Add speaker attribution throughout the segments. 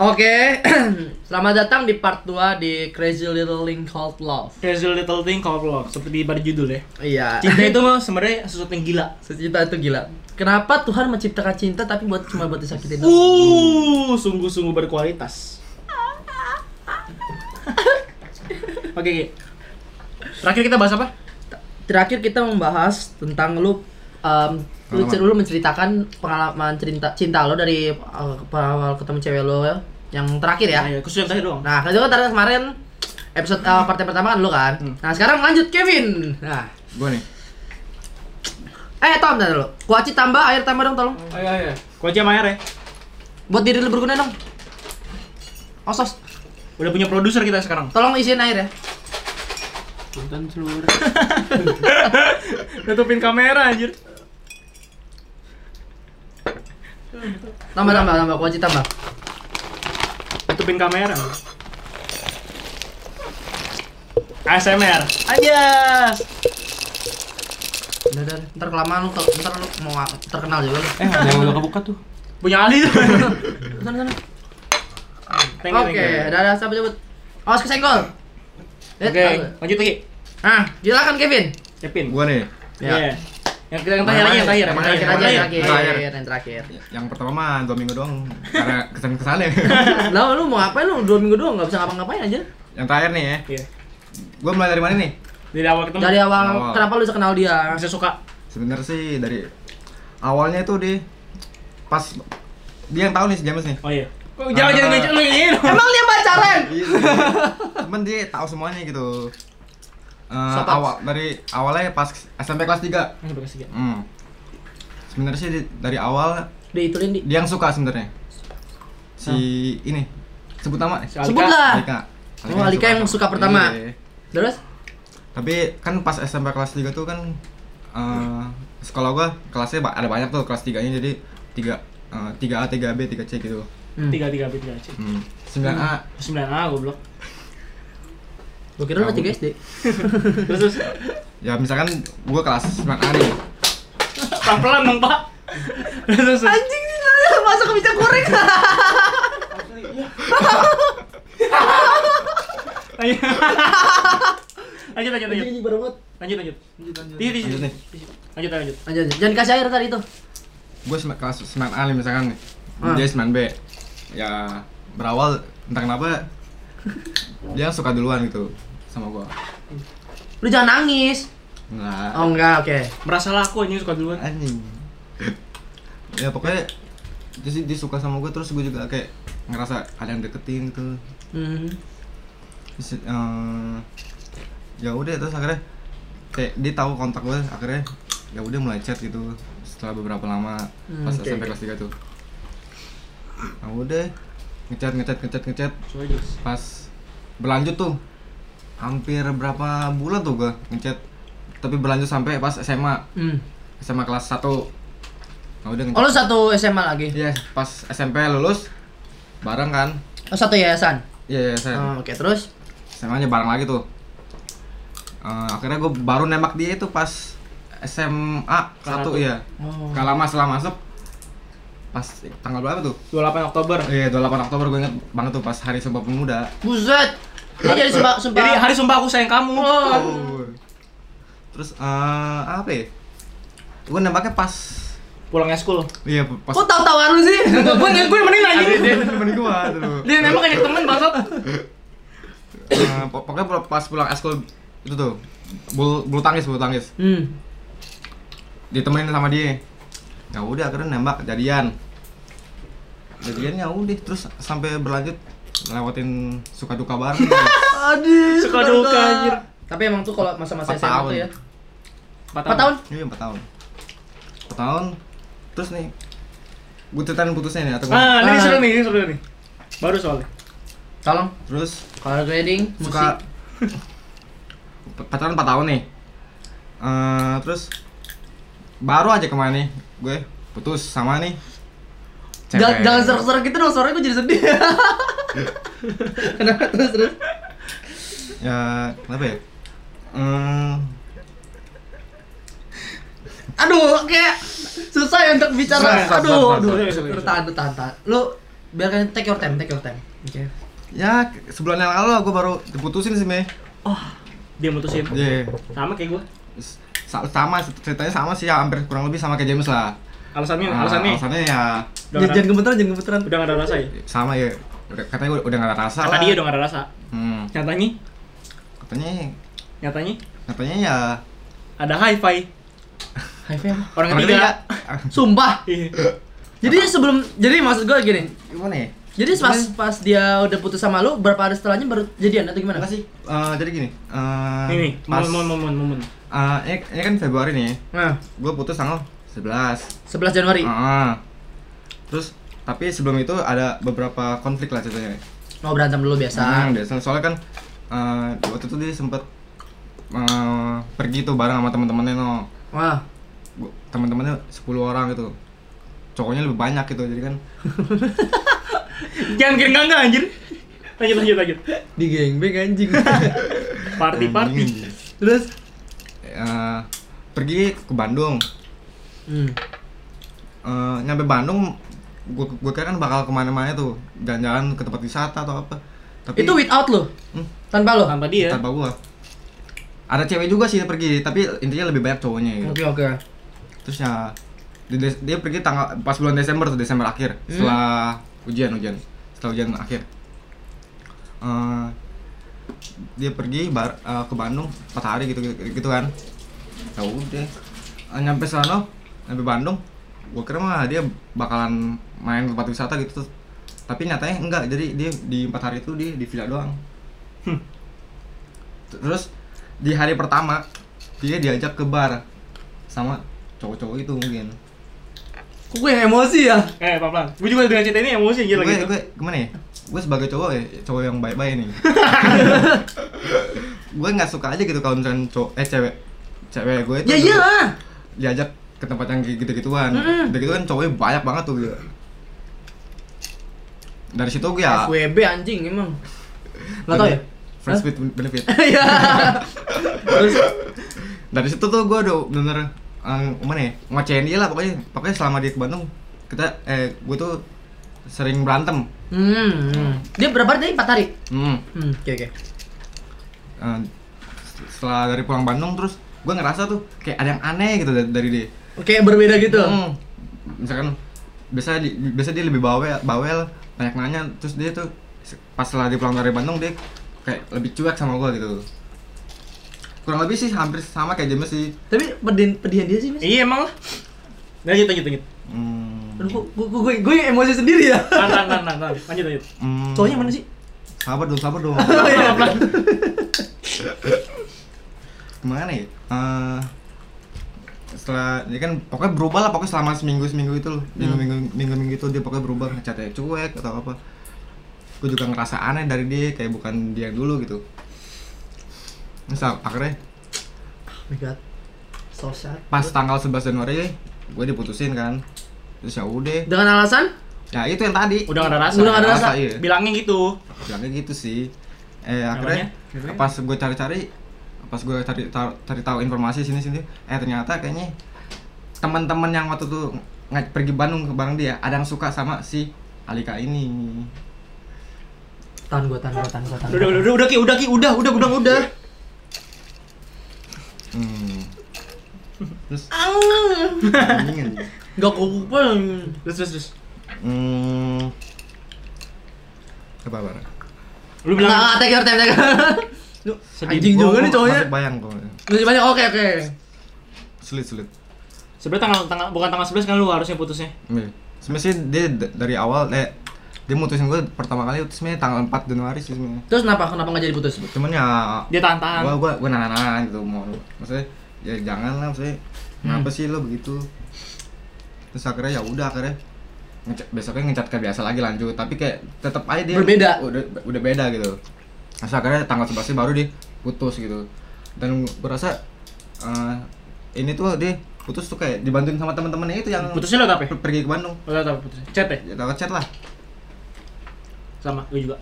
Speaker 1: Oke, selamat datang di part 2 di Crazy Little Thing Called Love.
Speaker 2: Crazy Little Thing Called Love seperti pada judul ya.
Speaker 1: Iya.
Speaker 2: Cinta itu mah sebenarnya sesuatu yang gila.
Speaker 1: Cinta itu gila. Kenapa Tuhan menciptakan cinta tapi buat cuma buat disakitin? doang?
Speaker 2: Uh, sungguh-sungguh berkualitas. Oke, Ki. Terakhir kita bahas apa?
Speaker 1: Terakhir kita membahas tentang lu um, lu, cer- lu menceritakan pengalaman cinta cinta lo dari uh, awal ketemu cewek lo yang terakhir ya.
Speaker 2: Ayo, khusus yang terakhir doang.
Speaker 1: Nah, kedua tadi kemarin episode uh, part yang pertama kan lo kan. Nah, sekarang lanjut Kevin. Nah,
Speaker 3: Gue nih.
Speaker 1: eh Tom tadi lo. Kuaci tambah, air tambah dong tolong.
Speaker 4: Ayo ayo.
Speaker 2: Kau aja Mayer ya.
Speaker 1: Buat diri lu berguna dong. Osos,
Speaker 2: Udah punya produser kita sekarang.
Speaker 1: tolong isiin air ya.
Speaker 4: Nonton seluruh.
Speaker 2: Nutupin kamera anjir.
Speaker 1: Tambah, tambah, tambah, kunci tambah.
Speaker 2: Nutupin kamera. ASMR. Aja.
Speaker 1: Udah, udah, ntar kelamaan lu, ntar lu mau terkenal juga lu.
Speaker 4: Eh ada yang udah kebuka tuh.
Speaker 2: Punya Ali tuh.
Speaker 1: Sana, sana.
Speaker 2: Thank you, thank
Speaker 1: Oke,
Speaker 2: you.
Speaker 1: udah, udah, cabut, cabut. Awas kesenggol.
Speaker 2: Oke, lanjut lagi.
Speaker 1: Nah, silakan Kevin.
Speaker 2: Kevin.
Speaker 3: Gue nih.
Speaker 1: Ya.
Speaker 2: Iya. Yang kita yang terakhir lagi, yang terakhir,
Speaker 1: Yang
Speaker 2: yang
Speaker 1: terakhir
Speaker 2: yang
Speaker 1: aja, yang terakhir,
Speaker 3: terakhir. Terakhir.
Speaker 1: yang terakhir.
Speaker 3: Yang pertama mah dua minggu doang karena kesan kesannya.
Speaker 1: Lah, lu mau ngapain lu? Dua minggu doang nggak bisa ngapa-ngapain aja.
Speaker 3: yang terakhir nih ya.
Speaker 2: Iya.
Speaker 3: Gue mulai dari mana nih?
Speaker 2: Dari awal ketemu
Speaker 1: Dari awal,
Speaker 3: Awal.
Speaker 1: kenapa lu bisa kenal dia?
Speaker 2: bisa suka.
Speaker 3: Sebenernya sih dari awalnya itu di pas dia yang tahu nih si James nih.
Speaker 2: Oh iya. Kok
Speaker 3: Ah.
Speaker 2: jangan jangan ngecek lu ini.
Speaker 1: Emang dia pacaran?
Speaker 3: Cuman dia tahu semuanya gitu. Eh,
Speaker 1: Sopak.
Speaker 3: awal dari awalnya pas SMP kelas 3
Speaker 2: Ini bekas tiga.
Speaker 3: Hmm. Sebenarnya sih di- dari awal
Speaker 1: Diituin di.
Speaker 3: dia yang suka sebenarnya. Si ini sebut nama
Speaker 2: Si Alika.
Speaker 1: Sebutlah.
Speaker 3: Alika.
Speaker 1: Oh, Alika yang suka pertama.
Speaker 3: Iya.
Speaker 1: Terus?
Speaker 3: Tapi kan pas SMP kelas 3 tuh kan eh sekolah gua kelasnya ba- ada banyak tuh kelas 3-nya jadi eh, 3 3A, 3B, 3C gitu.
Speaker 1: Hmm.
Speaker 2: Tiga tiga B tiga C.
Speaker 3: Hmm. 9A.
Speaker 2: Sembilan A goblok.
Speaker 1: Gua kira lu tiga SD.
Speaker 2: Terus terus
Speaker 3: Ya misalkan gua kelas 9A nih.
Speaker 2: pelan pelan dong pak. Terus terus. terus.
Speaker 1: Anjing masa ke bisa korek.
Speaker 2: Lanjut lanjut lanjut. Lanjut
Speaker 1: Anjing banget.
Speaker 2: lanjut. lanjut. Di di
Speaker 3: Lanjut nih.
Speaker 2: di- Lanjut lanjut.
Speaker 1: Lanjut, lanjut. jangan kasih air tadi tuh.
Speaker 3: Gua sem- kelas 9A nih misalkan nih.
Speaker 1: Ah.
Speaker 3: Dia 9B. Ya berawal entah kenapa dia suka duluan gitu sama gua.
Speaker 1: Lu jangan nangis.
Speaker 3: Nah,
Speaker 1: Oh enggak, oke.
Speaker 2: Merasalah aku anjing suka duluan.
Speaker 3: anjing. ya pokoknya dia, sih- dia suka sama gue terus gue juga kayak ngerasa ada yang deketin gitu.
Speaker 1: Hmm.
Speaker 3: Terus, eh, ya udah terus akhirnya kayak dia tahu kontak gue akhirnya ya udah mulai chat gitu setelah beberapa lama
Speaker 1: Hmm,
Speaker 3: pas
Speaker 1: oke,
Speaker 3: SMP kelas 3 tuh. Nah, udah ngechat ngechat ngechat ngechat
Speaker 2: Coba aja.
Speaker 3: pas berlanjut tuh hampir berapa bulan tuh gue ngechat tapi berlanjut sampai pas SMA
Speaker 1: Hmm.
Speaker 3: SMA kelas 1 nah udah
Speaker 1: Oh,
Speaker 3: ngechat
Speaker 1: lu satu SMA lagi.
Speaker 3: iya pas SMP lulus bareng kan
Speaker 1: Oh, satu yayasan.
Speaker 3: iya iya saya
Speaker 2: Hmm.
Speaker 1: Oh, oke, terus
Speaker 3: SMA nya bareng lagi tuh Eh, akhirnya gue baru nembak dia itu pas SMA
Speaker 2: Satu.
Speaker 3: satu ya
Speaker 1: Oh.
Speaker 3: gak lama setelah masuk pas tanggal berapa tuh?
Speaker 2: Dua delapan Oktober.
Speaker 3: Iya 28 Oktober gue inget banget tuh pas hari Sumpah Pemuda.
Speaker 1: Buset. Dia jadi sumpah sumpah.
Speaker 2: Jadi hari sumpah aku sayang kamu.
Speaker 3: Oh. Terus eh apa ya? Gue nembaknya pas
Speaker 2: Pulangnya school.
Speaker 3: iya pas
Speaker 1: Kok tahu-tahuan lu sih?
Speaker 2: Gue gue mending anjing.
Speaker 3: dia temen gue tuh.
Speaker 2: Dia nembak kayak temen bangsat.
Speaker 3: Eh, pok- pokoknya pul- pas pulang eskul itu tuh bulu, bulu tangkis bulu tangkis
Speaker 1: hmm.
Speaker 3: ditemenin sama dia ya udah akhirnya nembak jadian jadiannya udah terus sampai berlanjut ngelewatin suka duka bareng
Speaker 1: Aduh,
Speaker 2: Suka duka, anjir.
Speaker 1: Tapi emang tuh kalau masa-masa
Speaker 3: Empat
Speaker 1: SMA
Speaker 3: tahun.
Speaker 1: tuh ya.
Speaker 2: Empat
Speaker 1: Empat tahun?
Speaker 3: ini Iya, empat tahun empat tahun terus nih gue ceritain putusnya nih atau gua-
Speaker 2: Ah, ini
Speaker 1: Ah.
Speaker 2: seru nih, ini seru nih. Baru soalnya.
Speaker 1: Tolong.
Speaker 3: terus
Speaker 1: Color grading,
Speaker 3: suka
Speaker 1: musik.
Speaker 3: pacaran empat tahun nih Eh, terus baru aja kemarin nih gue putus sama nih
Speaker 1: Jangan
Speaker 3: cewek.
Speaker 1: jangan serak-serak gitu dong, suaranya gue jadi sedih. Kenapa terus terus?
Speaker 3: ya kenapa ya hmm,
Speaker 1: Aduh, kayak susah ya untuk bicara.
Speaker 3: Susah, susah,
Speaker 1: aduh,
Speaker 3: susah,
Speaker 1: aduh,
Speaker 2: susah.
Speaker 1: Lu tahan, lu tahan, tahan. Lu biarkan take your time take your time oke
Speaker 3: Ya, ke- sebulan yang lalu lah gue baru diputusin sih, Mei.
Speaker 2: Dia mutusin.
Speaker 3: Iya.
Speaker 2: Sama kayak gue.
Speaker 3: Sa- Sama, ceritanya sama sih, ya, hampir kurang lebih sama kayak James lah.
Speaker 2: Alasannya,
Speaker 3: Ah,
Speaker 2: alasannya
Speaker 3: alasannya ya
Speaker 2: udah nggak
Speaker 4: jangan gemeteran, jangan gemeteran.
Speaker 2: ada- udah nggak ada rasa ya.
Speaker 3: sama ya. Udah, katanya udah, udah gak ada rasa
Speaker 2: Kata
Speaker 3: lah.
Speaker 2: dia udah nggak ada rasa.
Speaker 3: Hmm,
Speaker 2: Nyatanya,
Speaker 3: katanya,
Speaker 2: nyatanya
Speaker 3: katanya ya.
Speaker 2: ada hi-fi
Speaker 1: Hi-fi apa?
Speaker 2: orang
Speaker 3: Orang
Speaker 2: ketiga.
Speaker 3: Ah,
Speaker 1: sumpah
Speaker 2: Iya.
Speaker 1: jadi sebelum jadi maksud gue gini
Speaker 3: Gimana ya?
Speaker 1: jadi pas pas dia udah putus sama lu berapa hari setelahnya baru jadian atau gimana
Speaker 3: Enggak sih. Eh, jadi gini. eh,
Speaker 2: Nih nih,
Speaker 3: pas,
Speaker 2: momen momen momen.
Speaker 3: eh, ini, ini kan Februari nih.
Speaker 1: nah
Speaker 3: Gue putus tanggal 11.
Speaker 1: 11 Januari
Speaker 3: Ah. Terus tapi sebelum itu ada beberapa konflik lah ceritanya.
Speaker 1: mau berantem dulu
Speaker 3: Hmm,
Speaker 1: biasa
Speaker 3: biasa. Soalnya kan eh, waktu itu dia sempet eh, pergi tuh bareng sama teman-temannya no.
Speaker 1: wah
Speaker 3: Gua- Teman-temannya 10 orang gitu. Cowoknya lebih banyak gitu. Jadi kan
Speaker 2: Jangan kira enggak anjir. Lanjut lanjut lanjut.
Speaker 1: di gengbeng anjing
Speaker 2: Party party.
Speaker 3: Anjing.
Speaker 1: terus
Speaker 3: Eh, pergi ke Bandung.
Speaker 1: hmm.
Speaker 3: Eh, nyampe Bandung gua, gua kira kan bakal kemana-mana tuh jalan-jalan ke tempat wisata atau apa tapi
Speaker 1: itu without lu
Speaker 3: Hmm.
Speaker 1: tanpa lu
Speaker 2: Tanpa dia.
Speaker 3: tanpa gua ada cewek juga sih yang pergi tapi intinya lebih banyak cowoknya gitu
Speaker 1: oke oke
Speaker 3: terus ya di des- dia pergi tanggal pas bulan Desember tuh Desember akhir setelah ujian ujian setelah ujian akhir Eh, dia pergi bar- eh, ke Bandung 4 hari gitu gitu, gitu kan ya udah Eh, nyampe sana nyampe Bandung gua kira mah dia bakalan main ke tempat wisata gitu terus- tapi nyatanya enggak jadi dia di empat hari itu dia di villa doang terus di hari pertama dia diajak ke bar sama cowok-cowok itu mungkin
Speaker 1: kok gue yang emosi ya
Speaker 2: Eh, pelan-pelan. Gue juga dengan cerita ini emosi
Speaker 1: Iya,
Speaker 2: anjir lagi.
Speaker 3: gue gue gimana ya gue sebagai cowok ya cowok yang baik-baik nih gue nggak suka aja gitu kalau misalkan cowok eh cewek cewek gue itu
Speaker 1: ya iyalah
Speaker 3: diajak ke tempat yang kayak gitu-gituan
Speaker 1: Mm-mm.
Speaker 3: gitu kan cowoknya banyak banget tuh gitu. dari situ gue ya
Speaker 1: FWB anjing emang nggak tau ya
Speaker 3: friends with benefit
Speaker 1: Iya. terus
Speaker 3: dari situ tuh gue udah bener eh, gimana ya ngocehin dia lah pokoknya pokoknya selama dia ke Bandung kita eh gue tuh sering berantem
Speaker 1: hmm, hmm. dia berapa hari tadi empat hari
Speaker 3: hmm.
Speaker 1: hmm oke oke
Speaker 3: Eh, setelah dari pulang Bandung terus gue ngerasa tuh kayak ada yang aneh gitu da- dari dia
Speaker 1: oke berbeda gitu
Speaker 3: Hmm. misalkan biasa di, biasa dia lebih bawel bawel banyak nanya terus dia tuh se- pas setelah dia pulang dari Bandung dia kayak lebih cuek sama gue gitu kurang lebih sih hampir sama kayak James sih
Speaker 1: tapi pedihan pedihan dia sih mas
Speaker 2: Iya emang lah. Lanjut lanjut lanjut.
Speaker 3: hmm.
Speaker 1: Aduh, kok gue, gue, gue yang emosi sendiri ya
Speaker 2: Tahan tahan tahan tahan, tahan. Lanjut lanjut.
Speaker 3: Hmm.
Speaker 1: cowoknya mana sih Oh
Speaker 3: sabar dong sabar dong
Speaker 2: Pelan-pelan.
Speaker 3: gimana ya Eh, setelah dia kan pokoknya berubah lah pokoknya selama seminggu seminggu itu loh minggu minggu minggu minggu itu dia pokoknya berubah ngecatnya cuek atau apa gue juga ngerasa aneh dari dia kayak bukan dia yang dulu gitu misal akhirnya
Speaker 1: oh my god so sad
Speaker 3: pas tanggal 11 Januari gue diputusin kan terus ya udah
Speaker 1: dengan alasan
Speaker 3: ya itu yang tadi
Speaker 2: Udah nggak ada rasa.
Speaker 1: Udah nggak ada rasa.
Speaker 3: iya.
Speaker 2: Bilangnya gitu.
Speaker 3: bilangnya gitu sih eh akhirnya
Speaker 2: Namanya?
Speaker 3: pas gue cari-cari pas gue cari tar- cari tahu informasi sini sini eh ternyata kayaknya teman-teman yang waktu itu nge- pergi Bandung ke bareng dia ada yang suka sama si Alika ini
Speaker 1: tahan gue tahan gue tahan gue tahan
Speaker 2: Udah udah udah udah ki udah ki udah udah udah udah.
Speaker 3: hmm. terus mendingan.
Speaker 1: gak kuku pun
Speaker 2: Terus terus terus.
Speaker 3: hmm. apa apa
Speaker 1: Nggak, nggak,
Speaker 2: Lu bilang
Speaker 1: Ah, take your time, take your time. Lu, Anjing juga nih cowoknya.
Speaker 3: masih bayang kok
Speaker 1: Masih banyak, oke oke.
Speaker 3: sulit sulit
Speaker 2: sebenarnya tanggal tanggal bukan tanggal 11 kan lu harusnya putusnya.
Speaker 3: Iya. sebenarnya sih dia d- dari awal eh, dia mutusin gue pertama kali itu sebenarnya tanggal 4 Januari sih sebenarnya
Speaker 1: Terus kenapa kenapa nggak jadi putus?
Speaker 3: cuman ya
Speaker 2: Dia tahan-tahan.
Speaker 3: gua gua gua nahan nahan gitu mau maksudnya ya jangan lah maksudnya kenapa sih lo begitu terus akhirnya ya udah akhirnya ngecat besoknya ngecat kayak biasa lagi lanjut tapi kayak tetap aja dia
Speaker 1: Berbeda.
Speaker 3: udah udah beda gitu terus akhirnya tanggal 11 sih baru dia putus gitu dan gua rasa eh, ini tuh dia putus tuh kayak dibantuin sama teman-temannya itu yang
Speaker 2: Putusnya lo apa?
Speaker 3: per- pergi ke Bandung
Speaker 2: Lo tau apa putusnya? Chat ya?
Speaker 3: ya lewat chat lah
Speaker 2: Sama, gue juga.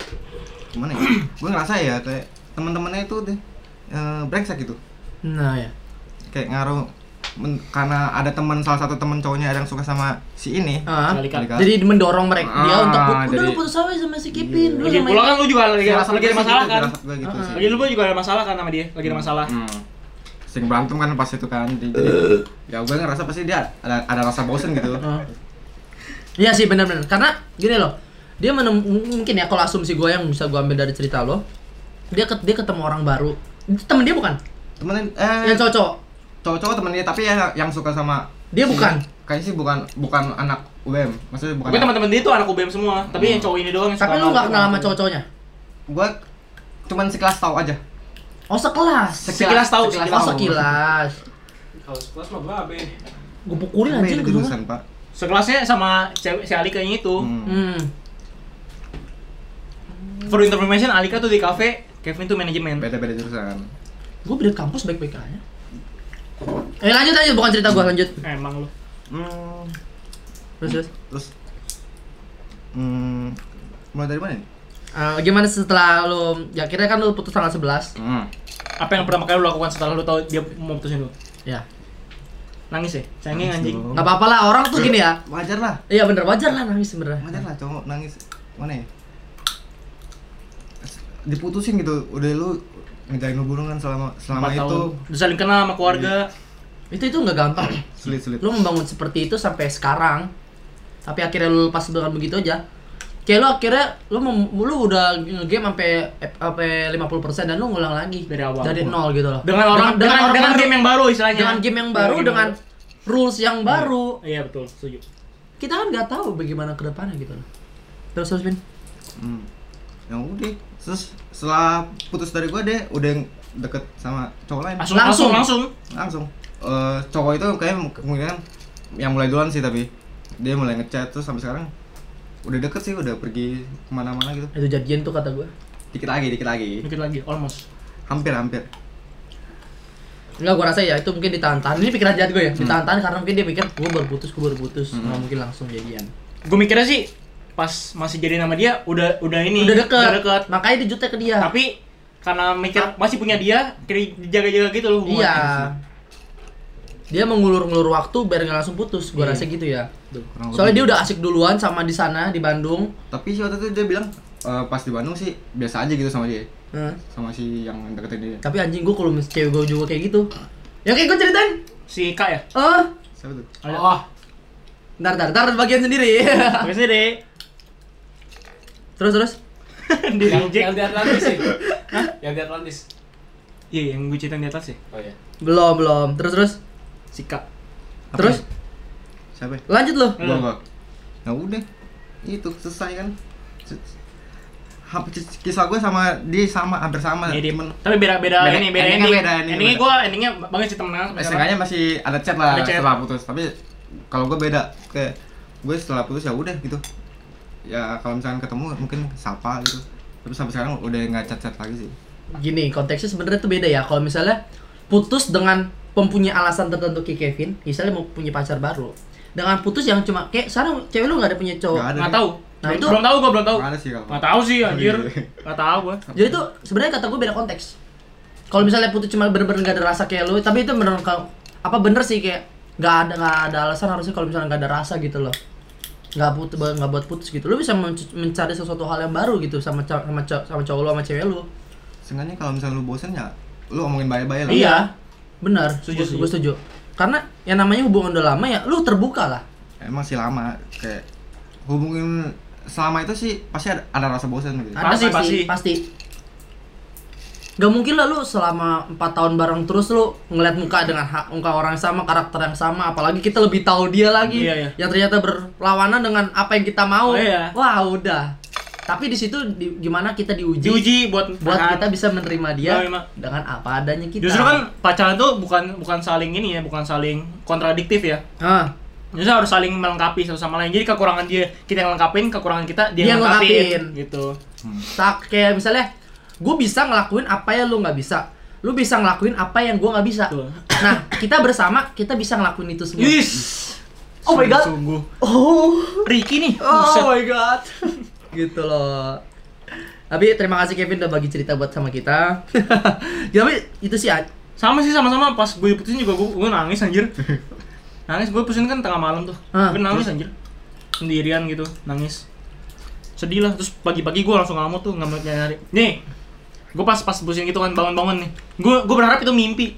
Speaker 3: gimana ya gue ngerasa ya kayak teman-temannya itu deh eh, brengsek gitu
Speaker 1: Nah ya.
Speaker 3: kayak ngaruh men- karena ada teman salah satu teman cowoknya ada yang suka sama si ini.
Speaker 1: Ah.
Speaker 2: Kali kali.
Speaker 3: Kali-kali.
Speaker 1: Jadi mendorong mereka dia
Speaker 3: Ah,
Speaker 1: untuk udah
Speaker 3: jadi- Iya.
Speaker 1: lu putus aja sama si Kevin, lu
Speaker 2: Lagi
Speaker 1: sama
Speaker 2: pula kan lu juga lagi
Speaker 3: Firasat
Speaker 2: lagi ada
Speaker 3: gue sih
Speaker 2: masalah
Speaker 3: gitu,
Speaker 2: kan.
Speaker 3: firasat gue gitu sih.
Speaker 2: Lagi lu gua juga ada masalah kan sama dia. Lagi ada masalah.
Speaker 3: Hmm. Sering berantem kan pasti itu kan. Jadi, ya gue ngerasa pasti dia ada, ada rasa bosen gitu.
Speaker 2: Ah.
Speaker 1: Iya sih benar-benar. Karena gini loh, dia menem- mungkin ya kalau asumsi gue yang bisa gue ambil dari cerita lo, dia ket- dia ketemu orang baru. Itu Temen dia bukan?
Speaker 3: Temenin eh
Speaker 1: Yang cocok.
Speaker 3: cowok-cowok temen dia tapi ya yang suka sama
Speaker 1: Dia
Speaker 3: si-
Speaker 1: bukan.
Speaker 3: Kayaknya sih bukan bukan anak UBM. Maksudnya
Speaker 2: Tapi
Speaker 3: bukan.
Speaker 2: teman-teman dia tuh anak UBM semua, tapi yang cowok ini doang yang
Speaker 1: Tapi
Speaker 2: suka
Speaker 1: lu nggak kenal sama
Speaker 2: orang.
Speaker 1: cowok-cowoknya?
Speaker 3: Gue cuman sekelas tahu aja.
Speaker 1: Oh sekelas.
Speaker 2: Sekilas tahu, sekilas
Speaker 1: Oh
Speaker 2: tahu.
Speaker 1: sekilas.
Speaker 4: Kalau sekelas mah babe.
Speaker 1: Gue pukulin anjing
Speaker 3: Beda
Speaker 1: kedua.
Speaker 3: jurusan, Pak.
Speaker 2: Sekelasnya sama cewek si Alika yang itu.
Speaker 3: Hmm.
Speaker 1: Hmm.
Speaker 2: For information, Alika tuh di cafe, Kevin tuh manajemen.
Speaker 3: Beda-beda jurusan.
Speaker 1: Gue beda kampus baik-baik aja. Eh lanjut lanjut bukan cerita gue lanjut.
Speaker 2: Emang lu.
Speaker 3: Hmm.
Speaker 1: Terus terus.
Speaker 3: Terus hmm, mulai dari mana nih?
Speaker 1: Eh, gimana setelah lu ya akhirnya kan lu putus tanggal 11
Speaker 3: Hmm.
Speaker 2: Apa yang pertama kali lu lakukan setelah lu tahu dia mau putusin lu?
Speaker 1: ya
Speaker 2: Nangis ya? Cengeng
Speaker 3: Nangis
Speaker 2: anjing.
Speaker 3: dong.
Speaker 1: nggak apa-apa lah orang tuh gini ya
Speaker 3: Wajar lah.
Speaker 1: iya bener wajar lah nangis sebenarnya
Speaker 3: Wajar lah cowok nangis mana ya? Diputusin gitu. Udah lu ngejalin hubungan kan selama selama
Speaker 2: Empat
Speaker 3: itu Iya.
Speaker 2: tahun. Udah saling kenal sama keluarga.
Speaker 1: itu itu nggak gampang
Speaker 3: sulit-sulit.
Speaker 1: lu membangun seperti itu sampai sekarang tapi akhirnya lu lepas dengan begitu aja kayak lu akhirnya lu mem- lu udah game sampai eh, sampai 50% dan lu ngulang lagi
Speaker 2: Dari awal.
Speaker 1: dari nol gitu loh
Speaker 2: Dengan orang dengan, dengan,
Speaker 1: baru-
Speaker 2: game yang baru istilahnya.
Speaker 1: dengan game yang baru dengan rules yang baru
Speaker 2: baru. Iya betul, setuju.
Speaker 1: kita kan nggak tahu bagaimana kedepannya gitu loh terus terus Vin
Speaker 3: Hmm. Yang udah terus setelah putus dari gua deh udah yang deket sama cowok lain
Speaker 2: Langsung langsung langsung.
Speaker 3: langsung Eh, cowok itu kayaknya kemungkinan yang mulai duluan sih tapi dia mulai ngechat terus sampai sekarang udah deket sih udah pergi kemana-mana gitu
Speaker 1: itu jadian tuh kata gue
Speaker 3: dikit lagi dikit lagi
Speaker 2: Dikit lagi, almost.
Speaker 3: hampir hampir
Speaker 1: Enggak, gua rasa ya itu mungkin ditahan-tahan. Ini pikiran jahat gue
Speaker 2: Hmm.
Speaker 1: ya, ditahan-tahan karena mungkin dia pikir gua baru putus, gua baru putus, nggak mungkin langsung jadian.
Speaker 2: Gue mikirnya sih pas masih jadi nama dia udah udah ini
Speaker 1: Udah deket, makanya dia jutek ke dia.
Speaker 3: Iya.
Speaker 2: tapi karena mikir
Speaker 3: Ah.
Speaker 2: masih punya dia kiri dijaga-jaga gitu
Speaker 1: iya.
Speaker 2: loh hubungannya.
Speaker 1: Dia mengulur-ngulur waktu biar nggak langsung putus, gua
Speaker 2: Iya.
Speaker 1: rasa gitu ya.
Speaker 3: kurang
Speaker 1: Soalnya dia
Speaker 3: lebih. gitu.
Speaker 1: udah asik duluan sama di sana di Bandung.
Speaker 3: tapi sih waktu itu dia bilang "Eh, pas di Bandung sih biasa aja gitu sama dia
Speaker 1: Heeh.
Speaker 3: sama si yang deketin dia
Speaker 1: Tapi anjing gua kalau misalnya cewek gua juga kayak gitu. Ya kayak gua ceritain.
Speaker 2: si kak ya
Speaker 1: Eh,
Speaker 3: siapa tuh
Speaker 2: oh
Speaker 1: ntar ntar ntar bagian sendiri.
Speaker 2: biasanya deh
Speaker 1: terus terus.
Speaker 2: di
Speaker 4: Yang,
Speaker 2: reject.
Speaker 4: yang di Atlantis sih. Hah? Yang di Atlantis.
Speaker 2: iya yang gue cerita di atas ya
Speaker 4: Oh iya.
Speaker 1: Belum, belum. Terus terus.
Speaker 2: si kak
Speaker 3: Apa
Speaker 1: Terus
Speaker 3: ya? siapa ya?
Speaker 1: lanjut loh.
Speaker 2: Hmm.
Speaker 3: gua gua nah udah itu selesai kan Se- hap- kisah gue sama dia sama hampir sama
Speaker 2: Iya, dia-
Speaker 3: cuman
Speaker 2: tapi beda beda
Speaker 3: Beda-
Speaker 2: ini beda
Speaker 3: endingnya
Speaker 2: ending
Speaker 3: beda, endingnya
Speaker 2: endingnya
Speaker 3: beda.
Speaker 2: gue endingnya banget sih temenan sama
Speaker 3: SNK nya masih ada chat lah
Speaker 2: Ada chat.
Speaker 3: setelah putus tapi kalau gue beda kayak gue setelah putus ya udah gitu ya kalau misalkan ketemu mungkin sapa gitu tapi sampai sekarang udah nggak chat chat lagi sih
Speaker 1: gini konteksnya sebenarnya tuh beda ya kalau misalnya putus dengan mempunyai alasan tertentu ke Kevin misalnya mau punya pacar baru dengan putus yang cuma kayak sekarang cewek lu nggak ada punya cowok
Speaker 3: Nggak ada.
Speaker 2: nggak tahu
Speaker 1: Nah, itu-
Speaker 2: belum tahu gue belum tahu
Speaker 3: Nggak ada sih kalau
Speaker 2: nggak tahu sih anjir
Speaker 3: Oh, iya.
Speaker 2: nggak tahu gue
Speaker 1: jadi tuh sebenarnya kata gue beda konteks kalau misalnya putus cuma bener-bener nggak ada rasa kayak lu tapi itu bener kalau apa bener sih kayak nggak ada nggak ada alasan harusnya kalau misalnya nggak ada rasa gitu loh nggak putus nggak buat putus gitu lu bisa menc- mencari sesuatu hal yang baru gitu sama cow- sama cow- sama cowok lu sama cewek lu
Speaker 3: seenggaknya kalau misalnya lu bosen ya lu omongin bye bye lah
Speaker 1: Iya, benar. Setuju,
Speaker 2: Setuju,
Speaker 1: gue setuju. Karena yang namanya hubungan udah lama ya, lu terbuka lah.
Speaker 3: emang sih lama kayak hubungin selama itu sih pasti ada, ada rasa bosen gitu
Speaker 1: Ada
Speaker 2: Pasti,
Speaker 1: pasti, pasti. Gak mungkin lah lu selama 4 tahun bareng terus lu ngeliat muka dengan hak muka orang yang sama, karakter yang sama, apalagi kita lebih tahu dia lagi
Speaker 2: Iya, iya.
Speaker 1: yang ternyata berlawanan dengan apa yang kita mau.
Speaker 2: Oh, iya.
Speaker 1: Wah, udah. Tapi di situ di- gimana kita diuji,
Speaker 2: diuji buat
Speaker 1: buat
Speaker 2: tahan.
Speaker 1: kita bisa menerima dia
Speaker 2: Oh, iya.
Speaker 1: dengan apa adanya kita.
Speaker 2: justru kan pacaran tuh bukan bukan saling ini ya bukan saling kontradiktif ya
Speaker 1: Ah,
Speaker 2: Jadi harus saling melengkapi satu sama lain. Jadi kekurangan dia kita yang lengkapin, kekurangan kita
Speaker 1: Dia
Speaker 2: dia, yang
Speaker 1: ngelengkapin.
Speaker 2: lengkapin. Gitu.
Speaker 1: tak kayak misalnya gue bisa ngelakuin apa yang lu nggak bisa lu bisa ngelakuin apa yang gue nggak bisa
Speaker 2: Betul.
Speaker 1: nah kita bersama kita bisa ngelakuin itu semua
Speaker 2: Yes.
Speaker 1: Oh my God.
Speaker 2: Sungguh.
Speaker 1: oh
Speaker 2: Ricky nih.
Speaker 1: oh
Speaker 2: buset.
Speaker 1: my god gitu loh tapi terima kasih Kevin udah bagi cerita buat sama kita tapi itu sih Ad.
Speaker 2: Sama sih sama-sama pas gue diputusin juga gue, gue nangis anjir. Nangis gue putusin kan tengah malam tuh.
Speaker 1: Ah,
Speaker 2: gue nangis anjir. Sendirian gitu, nangis. Sedih lah, terus pagi-pagi gue langsung ngamuk tuh, ngamuk nyari. Nih. Gue pas pas putusin gitu kan bangun-bangun nih. Gue gue berharap itu mimpi.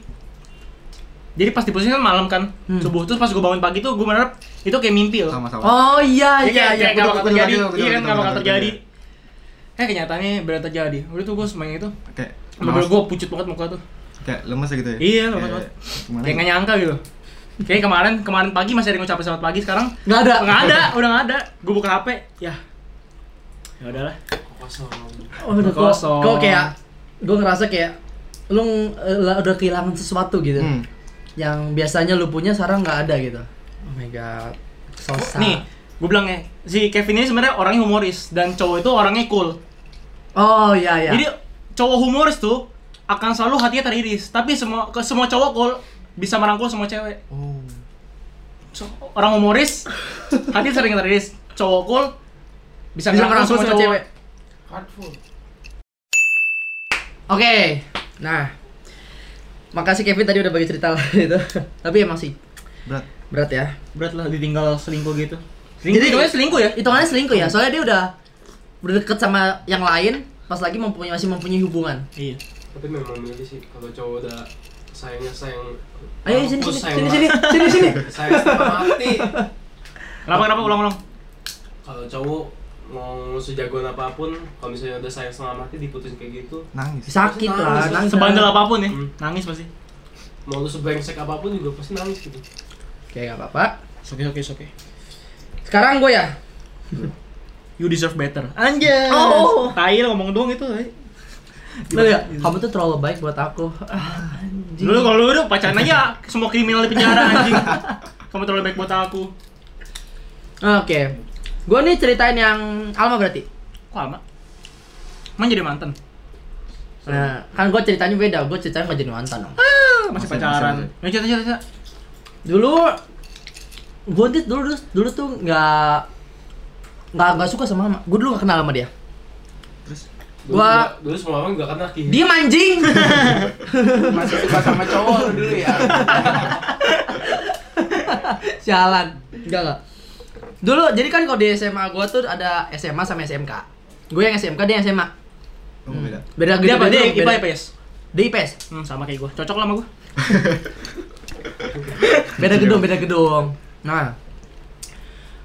Speaker 2: Jadi pas diputusin kan malam kan,
Speaker 1: Hmm.
Speaker 2: subuh terus pas gue bangun pagi tuh gue berharap itu kayak mimpi loh.
Speaker 3: sama-sama.
Speaker 1: Oh iya
Speaker 2: Iya,
Speaker 1: iya iya.
Speaker 2: kayak gak bakal
Speaker 3: betul,
Speaker 2: terjadi.
Speaker 3: betul, betul,
Speaker 2: Iya kan
Speaker 3: betul,
Speaker 2: gak bakal
Speaker 3: betul,
Speaker 2: terjadi. Eh kenyataannya benar terjadi. Udah tuh gue semuanya itu.
Speaker 3: Kayak
Speaker 2: Bener-bener
Speaker 3: lemas-
Speaker 2: gue pucut banget muka tuh.
Speaker 3: kayak lemes gitu ya.
Speaker 2: Iya, lemes
Speaker 3: Kayak-
Speaker 2: banget.
Speaker 3: Gimana? ya?
Speaker 2: Kayak gak nyangka gitu. Kayak kemarin kemarin pagi masih ada yang ngucapin selamat pagi sekarang
Speaker 1: Nggak ada.
Speaker 2: nggak ada, udah nggak ada. Gue buka HP, ya. Ya udahlah.
Speaker 4: kosong
Speaker 1: Oh, udah kok
Speaker 2: Kosong.
Speaker 1: kok kayak gue ngerasa kayak lu ng- eh, lah, udah kehilangan sesuatu gitu.
Speaker 3: Hmm.
Speaker 1: Yang biasanya lu punya sekarang nggak ada gitu. Oh my god. Sosa.
Speaker 2: Oh, Nih, gue bilang ya, si Kevin ini sebenarnya orangnya humoris dan cowok itu orangnya cool.
Speaker 1: Oh iya iya.
Speaker 2: Jadi cowok humoris tuh akan selalu hatinya teriris, tapi semua ke semua cowok cool bisa merangkul semua cewek.
Speaker 1: Oh.
Speaker 2: So, orang humoris hati sering teriris cowok cool
Speaker 1: Bisa
Speaker 2: bisa, ngerangkul
Speaker 1: merangkul
Speaker 2: semua
Speaker 1: sama
Speaker 2: cowok.
Speaker 1: cewek.
Speaker 4: Hardful.
Speaker 1: Oke, nah makasih Kevin tadi udah bagi cerita lah itu. Tapi emang sih
Speaker 3: Berat.
Speaker 1: berat ya.
Speaker 2: berat lah ditinggal selingkuh gitu selingkuh
Speaker 1: Jadi-
Speaker 2: itu selingkuh ya
Speaker 1: Hitungannya selingkuh ya, soalnya dia udah berdekat sama yang lain, pas lagi mempunyai masih mempunyai hubungan.
Speaker 2: iya
Speaker 4: Tapi memang milih sih kalau cowok udah sayangnya sayang.
Speaker 1: Ayo sini
Speaker 4: Mampus, sayang
Speaker 1: sini sini
Speaker 4: banget.
Speaker 1: sini sini sini.
Speaker 4: Sayang setengah mati.
Speaker 2: kenapa kenapa ulang ulang
Speaker 4: Kalau cowok mau sejagoan apapun, kalau misalnya udah sayang setengah mati diputusin kayak gitu,
Speaker 3: Nangis.
Speaker 1: Sakit lah, nangis.
Speaker 2: sebandel apapun ya
Speaker 4: Hmm.
Speaker 2: nangis pasti
Speaker 4: mau lu sebrengsek apapun juga pasti nangis gitu.
Speaker 1: Oke, nggak apa-apa.
Speaker 2: oke oke oke
Speaker 1: Sekarang gue ya.
Speaker 2: you deserve better anjir
Speaker 1: Oh.
Speaker 2: tai lu ngomong doang itu eh.
Speaker 1: Lu ya, kamu tuh terlalu baik buat aku. Ah, anjing.
Speaker 2: dulu kalau lu udah pacaran aja semua kriminal di penjara anjing kamu terlalu baik buat aku
Speaker 1: Oke. Gue nih ceritain yang Alma berarti.
Speaker 2: kok lama emang jadi mantan
Speaker 1: Nah, kan gue ceritanya beda, gue ceritanya nggak jadi mantan dong.
Speaker 2: Ah, masih
Speaker 3: Masih,
Speaker 2: pacaran
Speaker 3: masih,
Speaker 2: ya cerita cerita cerita.
Speaker 1: dulu gue tuh dulu dulu, dulu tuh nggak nggak nggak suka sama gue dulu nggak kenal sama dia
Speaker 3: Terus
Speaker 4: Dulu,
Speaker 1: Gua-
Speaker 4: dulu semua orang juga kena kiri.
Speaker 1: dia anjing
Speaker 4: masih suka sama cowok lu dulu ya.
Speaker 1: sialan enggak enggak dulu jadi kan kalau di SMA gue tuh ada SMA sama SMK gue yang SMK dia yang SMA
Speaker 3: kamu beda.
Speaker 1: beda gitu,
Speaker 2: dia apa
Speaker 1: beda-
Speaker 2: dia
Speaker 1: beda-
Speaker 2: ipa ips
Speaker 1: dia IPS
Speaker 2: hmm, sama kayak gua cocok lah sama gua
Speaker 1: beda gedung beda gedung nah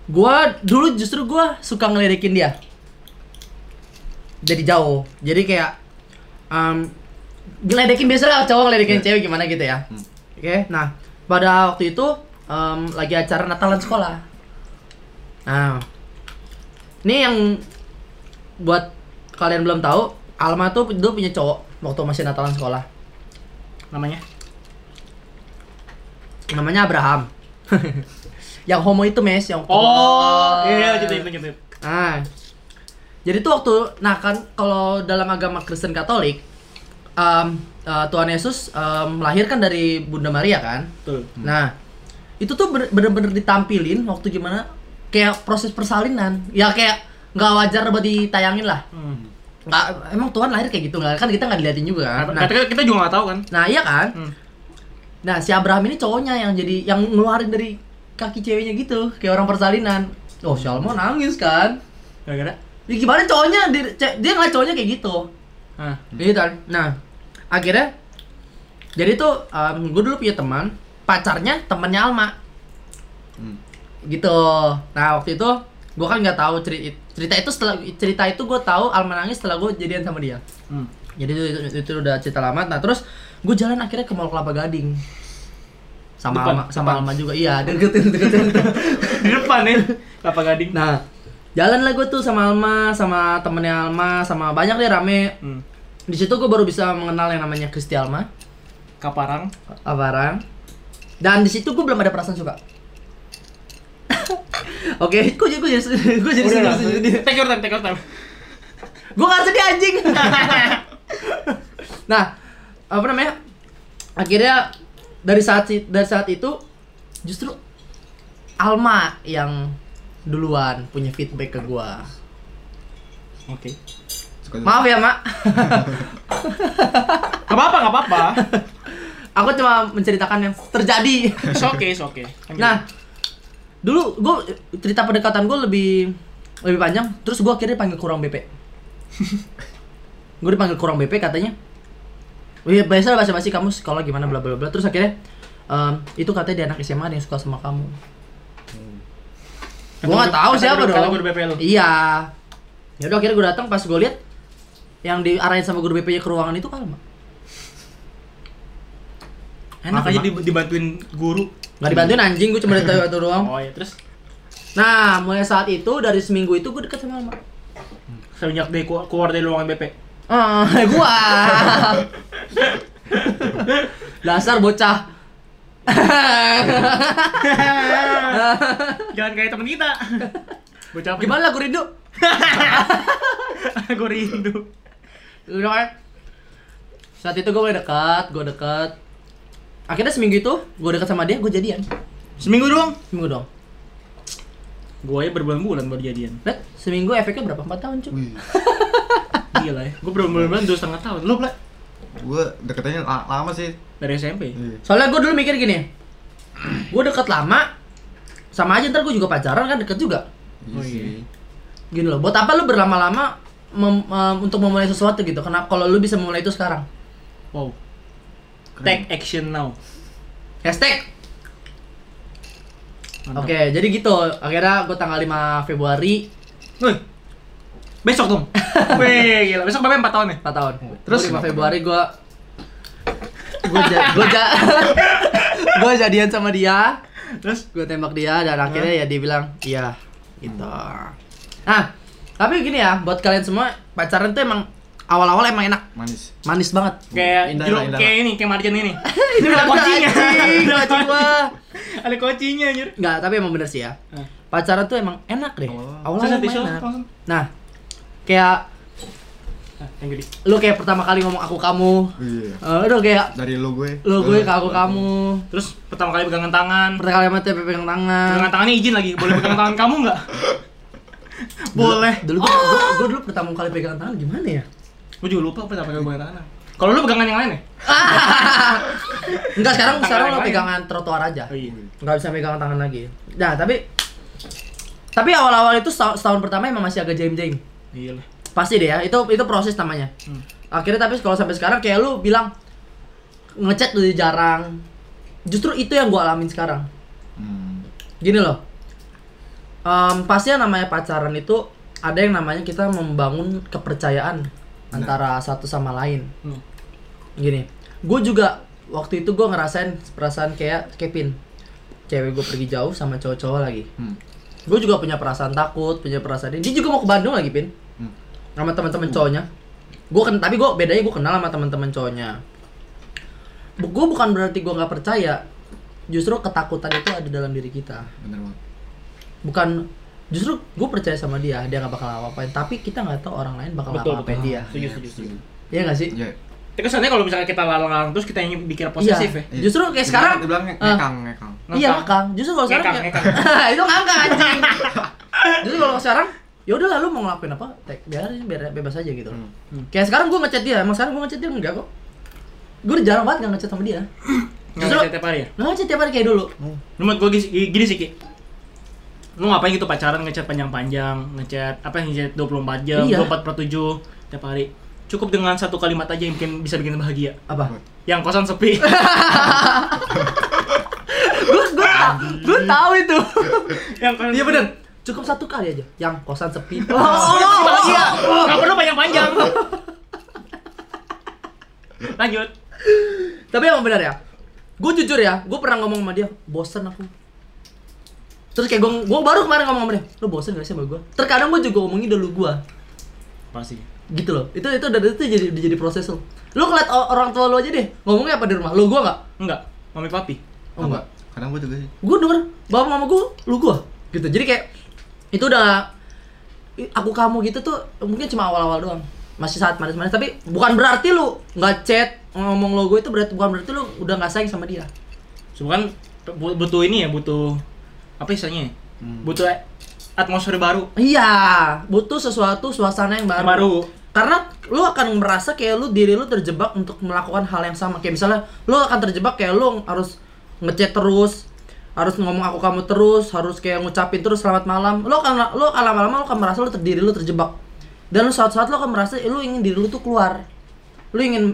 Speaker 1: gue dulu justru gue suka ngelidikin dia dari jauh jadi kayak um, ngeledekin biasa lah cowok ngeledekin cewek gimana gitu ya
Speaker 3: Hmm.
Speaker 1: oke nah pada waktu itu em, lagi acara Natalan sekolah nah ini yang buat kalian belum tahu Alma tuh dulu punya cowok waktu masih Natalan sekolah
Speaker 2: namanya
Speaker 1: namanya Abraham yang homo itu mes yang
Speaker 2: oh iya cerita itu cerita itu.
Speaker 1: ah jadi tuh waktu nah kan kalau dalam agama Kristen Katolik em, eh, Tuhan Yesus em, melahirkan dari Bunda Maria kan
Speaker 2: betul
Speaker 1: nah itu tuh bener- bener-bener ditampilin waktu gimana kayak proses persalinan ya kayak nggak wajar buat ditayangin lah
Speaker 2: Hmm.
Speaker 1: Nggak- emang Tuhan lahir kayak gitu nggak kan kita nggak diliatin juga kan nah,
Speaker 2: Nah, kita, kita juga nggak tahu kan.
Speaker 1: nah iya kan
Speaker 2: Hmm.
Speaker 1: Nah, si Abraham ini cowoknya yang jadi yang ngeluarin dari kaki ceweknya gitu, kayak orang persalinan. Oh, si Alma nangis kan.
Speaker 2: Gara-gara.
Speaker 1: Ya gimana cowoknya dia, ce- dia ngeliat cowoknya kayak gitu.
Speaker 2: Nah,
Speaker 1: Gitu kan. Nah, akhirnya jadi tuh em, gue dulu punya teman, pacarnya temennya Alma
Speaker 3: Hmm.
Speaker 1: gitu. Nah, waktu itu gue kan nggak tahu cerita, cerita itu setelah cerita itu gue tahu Alma nangis setelah gue jadian sama dia.
Speaker 2: hmm.
Speaker 1: Jadi itu, itu, itu udah cerita lama. Nah terus gue jalan akhirnya ke Mall Kelapa Gading sama
Speaker 2: Depan,
Speaker 1: Alma, sama
Speaker 2: depan.
Speaker 1: Alma juga. Iya deketin deketin.
Speaker 2: di depan ya, kelapa gading.
Speaker 1: nah jalan lah gue tuh sama Alma, sama temennya Alma, sama banyak deh rame.
Speaker 2: Hmm.
Speaker 1: Di situ gue baru bisa mengenal yang namanya Kristi Alma,
Speaker 2: Kaparang.
Speaker 1: Avarang. Dan di situ gue belum ada perasaan suka. Oke, gue jadi gue jadi gue jadi
Speaker 2: Udah lah.
Speaker 1: sedih- sedih.
Speaker 2: Take your time, take your time.
Speaker 1: Gue gak sedih anjing. nah, apa namanya? Akhirnya dari saat si- dari saat itu justru Alma yang duluan punya feedback ke gua.
Speaker 2: Oke.
Speaker 3: Suka
Speaker 1: Maaf ya, Mak.
Speaker 2: Gak apa-apa, gak apa-apa.
Speaker 1: Aku cuma menceritakan yang terjadi.
Speaker 2: It's okay, it's okay.
Speaker 1: Nah, dulu gue cerita pendekatan gue lebih lebih panjang. Terus gue akhirnya dipanggil kurang BP. gue dipanggil kurang BP katanya. Iya biasa bahasa basi kamu sekolah gimana bla bla bla. Terus akhirnya em, itu katanya dia anak SMA ada yang suka sama kamu.
Speaker 2: Hmm.
Speaker 1: Gue nggak
Speaker 2: Kata guru-
Speaker 1: tahu
Speaker 2: kata
Speaker 1: siapa
Speaker 2: guru- kata
Speaker 1: dong.
Speaker 2: guru BP lu.
Speaker 1: Iya. Ya udah akhirnya gue datang pas gue lihat yang diarahin sama guru BP-nya ke ruangan itu Alma.
Speaker 2: enak
Speaker 3: Maaf,
Speaker 2: aja
Speaker 3: Mak.
Speaker 2: dib- dibantuin guru.
Speaker 1: Gak dibantuin anjing, gue cuma ditanya itu doang.
Speaker 2: Oh ya, terus
Speaker 1: Nah, mulai saat itu dari seminggu itu gue deket sama Alma.
Speaker 2: semenjak dia keluar keluar dari ruangan BP.
Speaker 1: Ah, gua. Dasar bocah.
Speaker 2: Jangan kayak temen kita. Bocah apa?
Speaker 1: Gimana lagu rindu?
Speaker 2: Gue rindu.
Speaker 1: Udah kan? Saat itu gue mulai dekat, gue dekat. Akhirnya seminggu itu gue dekat sama dia, gue jadian.
Speaker 2: Seminggu doang.
Speaker 1: Seminggu dong.
Speaker 2: Gue ya berbulan-bulan baru jadian.
Speaker 1: Lihat, seminggu efeknya berapa? 4 tahun, cuy.
Speaker 2: Gila ya. Gue berbulan-bulan dua setengah tahun. Lo pula
Speaker 3: gue deketannya la- lama sih
Speaker 2: dari SMP.
Speaker 3: Iya.
Speaker 1: Soalnya gue dulu mikir gini. Gue deket lama, sama aja ntar gue juga pacaran kan deket juga.
Speaker 3: Iya
Speaker 2: Oh, iya.
Speaker 3: sih.
Speaker 1: Gini loh, buat apa lu berlama-lama mem- em, untuk memulai sesuatu gitu? Kenapa kalau lu bisa memulai itu sekarang?
Speaker 2: Wow.
Speaker 3: Keren.
Speaker 2: Take action now.
Speaker 1: Hashtag
Speaker 2: Mantap.
Speaker 1: Oke, jadi gitu. Akhirnya gue tanggal 5 Februari
Speaker 2: Woi. Besok dong. Wih, gila. Besok berapa 4 tahun ya?
Speaker 1: 4 tahun.
Speaker 2: Terus?
Speaker 1: Terus 5 Februari gue gue ja, gue ja, gue jadian sama dia,
Speaker 2: Terus
Speaker 1: gue tembak dia dan akhirnya ya dibilang iya gitu. Nah, tapi gini ya, buat kalian semua pacaran tuh emang awal-awal emang enak,
Speaker 3: manis
Speaker 1: manis banget.
Speaker 2: kayak
Speaker 3: Indah,
Speaker 2: jeruk-
Speaker 3: indah, indah.
Speaker 2: kayak ini, kayak marjan ini.
Speaker 1: Ini
Speaker 2: ada kuncinya.
Speaker 1: Udah coba.
Speaker 2: Ada kocinya anjir.
Speaker 1: Enggak, tapi emang bener sih ya.
Speaker 2: Hah.
Speaker 1: Pacaran tuh emang enak deh.
Speaker 3: Oh.
Speaker 1: Awal-awal
Speaker 2: Terus habis
Speaker 1: emang
Speaker 2: itu
Speaker 1: enak.
Speaker 2: langsung?
Speaker 1: Nah, kayak
Speaker 2: Ah, yang gede.
Speaker 1: lu kayak pertama kali ngomong aku kamu,
Speaker 3: Iya.
Speaker 1: Eh, udah kayak
Speaker 3: dari lo gue
Speaker 1: lu gue ke aku kamu
Speaker 2: Terus pertama kali pegangan tangan.
Speaker 1: pertama kali sama TPP pegang tangan
Speaker 2: Pegangan tangannya izin lagi. Boleh pegangan tangan kamu nggak? Boleh.
Speaker 1: dulu gue, gue, gue dulu pertama kali pegang tangan gimana ya
Speaker 2: Gue juga lupa pernah pegang pegangan tangan. Kalau lu pegangan yang lain ya?
Speaker 1: enggak sekarang
Speaker 2: Tangan
Speaker 1: sekarang
Speaker 2: yang
Speaker 1: lo
Speaker 2: lain.
Speaker 1: pegangan trotoar aja
Speaker 2: Oh, iya.
Speaker 1: nggak bisa pegangan tangan lagi nah tapi tapi awal-awal itu setahun, setahun pertama emang masih agak jaim-jaim
Speaker 2: Iya lah.
Speaker 1: pasti deh ya itu itu proses namanya
Speaker 2: Hmm.
Speaker 1: akhirnya tapi kalau sampai sekarang kayak lu bilang ngechat udah jarang justru itu yang gue alamin sekarang
Speaker 3: Hmm.
Speaker 1: gini loh Em, pasti yang namanya pacaran itu ada yang namanya kita membangun kepercayaan
Speaker 3: Nah.
Speaker 1: antara satu sama lain
Speaker 2: Hmm.
Speaker 1: gini gue juga waktu itu gue ngerasain perasaan kayak Kevin cewek gue pergi jauh sama cowok-cowok lagi
Speaker 3: Hmm.
Speaker 1: gue juga punya perasaan takut punya perasaan ini dia juga mau ke Bandung lagi pin
Speaker 3: Hmm.
Speaker 1: sama teman-teman cowoknya gue kan tapi gue bedanya gue kenal sama teman-teman cowoknya gue bukan berarti gue nggak percaya justru ketakutan itu ada dalam diri kita
Speaker 3: bener banget
Speaker 1: bukan justru gue percaya sama dia dia nggak bakal apa-apain tapi kita nggak tahu orang lain bakal
Speaker 2: Betul,
Speaker 1: apa-apain
Speaker 2: betul.
Speaker 1: dia
Speaker 2: Setuju, setuju, setuju.
Speaker 1: Iya nggak sih
Speaker 3: Iya.
Speaker 2: Tapi kesannya kalau misalnya kita larang-larang terus kita yang bikin posesif ya.
Speaker 3: Iya.
Speaker 1: justru kayak sekarang
Speaker 3: dibilang dibilang
Speaker 1: eh,
Speaker 3: ngekang ngekang
Speaker 1: iya ngakang justru kalau sekarang
Speaker 2: Ngekang,
Speaker 1: kayak- itu ngakang anjing justru kalau sekarang ya udahlah lu mau ngelakuin apa tek biarin biar bebas aja gitu
Speaker 3: Hmm.
Speaker 2: Hmm.
Speaker 1: kayak sekarang gue ngechat dia emang sekarang gue ngechat dia enggak kok gue udah jarang banget nggak ngechat sama dia
Speaker 2: Nggak
Speaker 1: Justru-
Speaker 2: bisa tiap hari ya.
Speaker 1: nggak ngechat tiap hari kayak dulu
Speaker 2: Menurut gue gini, gini sih Ki. Lu ngapain gitu pacaran ngechat panjang-panjang, ngechat apa ngechat 24 jam,
Speaker 1: Iya.
Speaker 2: 24 per 7 tiap hari. Cukup dengan satu kalimat aja yang bikin bisa bikin bahagia.
Speaker 1: apa
Speaker 2: Yang kosan sepi.
Speaker 1: gue gue gue tahu itu
Speaker 2: yang kosan
Speaker 1: iya
Speaker 2: sepi.
Speaker 1: bener cukup satu kali aja yang kosan sepi oh,
Speaker 2: bahagia. Nggak perlu panjang-panjang. Lanjut.
Speaker 1: Tapi emang benar ya. Gue jujur ya, gue pernah ngomong sama dia, bosen aku. Terus kayak gue, gue baru kemarin ngomong sama dia, lo bosen gak sih sama gue? Terkadang gue juga ngomongin dulu gue,
Speaker 2: Pasti.
Speaker 1: gitu loh. Itu itu dari itu jadi jadi proses lo. Lo ngeliat o- orang tua lo aja deh, ngomongnya apa di rumah? Lo gue nggak?
Speaker 2: Enggak. Mami papi.
Speaker 1: Oh, enggak.
Speaker 3: kadang gue juga sih
Speaker 1: Gue denger bapak mama gue, lu gue, gitu. Jadi kayak itu udah i- aku kamu gitu tuh mungkin cuma awal-awal doang masih saat manis-manis tapi bukan berarti lu nggak chat ngomong lo gue itu berarti bukan berarti lu udah nggak sayang sama dia
Speaker 2: Cuma kan bu- butuh ini ya, butuh apa istilahnya? ya? Butuh atmosfer baru.
Speaker 1: Iya, butuh sesuatu suasana yang baru.
Speaker 2: Baru.
Speaker 1: karena lu akan merasa kayak lu diri lu terjebak untuk melakukan hal yang sama kayak misalnya lu akan terjebak kayak lu harus ngechat terus harus ngomong aku kamu terus harus kayak ngucapin terus selamat malam lu akan lu akan lama-lama lu akan merasa lu ter- diri lu terjebak dan lu saat-saat lu akan merasa eh, lu ingin diri lu tuh keluar lu ingin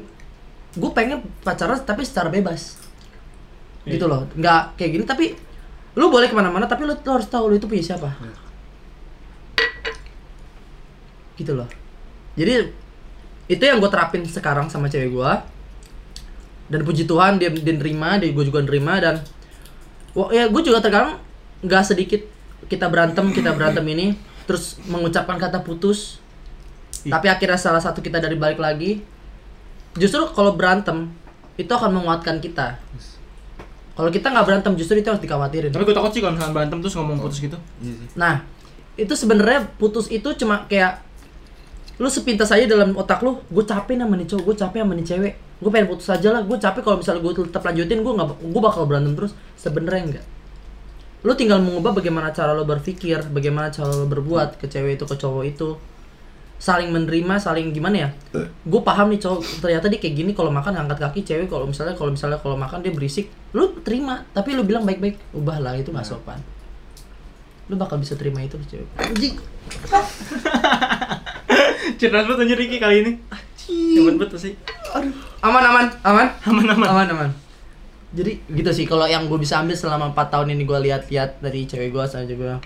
Speaker 1: gue pengen pacaran tapi secara bebas gitu loh nggak kayak gini tapi lu boleh kemana-mana tapi lu, lu harus tahu lu itu punya siapa gitu loh jadi itu yang gue terapin sekarang sama cewek gue dan puji Tuhan dia dia nerima dia gue juga nerima dan wah ya gue juga terkadang nggak sedikit kita berantem kita berantem ini terus mengucapkan kata putus tapi akhirnya salah satu kita dari balik lagi justru kalau berantem itu akan menguatkan kita kalau kita nggak berantem justru itu harus dikhawatirin
Speaker 2: Tapi gue takut sih kalau misalnya berantem terus ngomong putus gitu.
Speaker 3: Iya sih.
Speaker 1: Nah, itu sebenarnya putus itu cuma kayak lu sepintas aja dalam otak lu, gue capek nih sama nih cowok, gue capek sama nih cewek, gue pengen putus aja lah, gue capek kalau misalnya gue tetap lanjutin, gue nggak, gue bakal berantem terus, sebenarnya enggak. Lu tinggal mengubah bagaimana cara lo berpikir, bagaimana cara lo berbuat ke cewek itu ke cowok itu, saling menerima, saling gimana ya? Gue paham nih cowok, ternyata dia kayak gini kalau makan angkat kaki cewek, kalau misalnya kalau misalnya kalau makan dia berisik, lu terima, tapi lu bilang baik-baik, ubahlah itu nggak sopan lu bakal bisa terima itu cewek
Speaker 2: Cerdas banget anjir Ricky kali ini. Cuman betul Ah, sih.
Speaker 1: aman aman aman
Speaker 2: Aman aman.
Speaker 1: aman aman jadi gitu sih kalau yang gue bisa ambil selama 4 tahun ini gue lihat-lihat dari cewek gue sama juga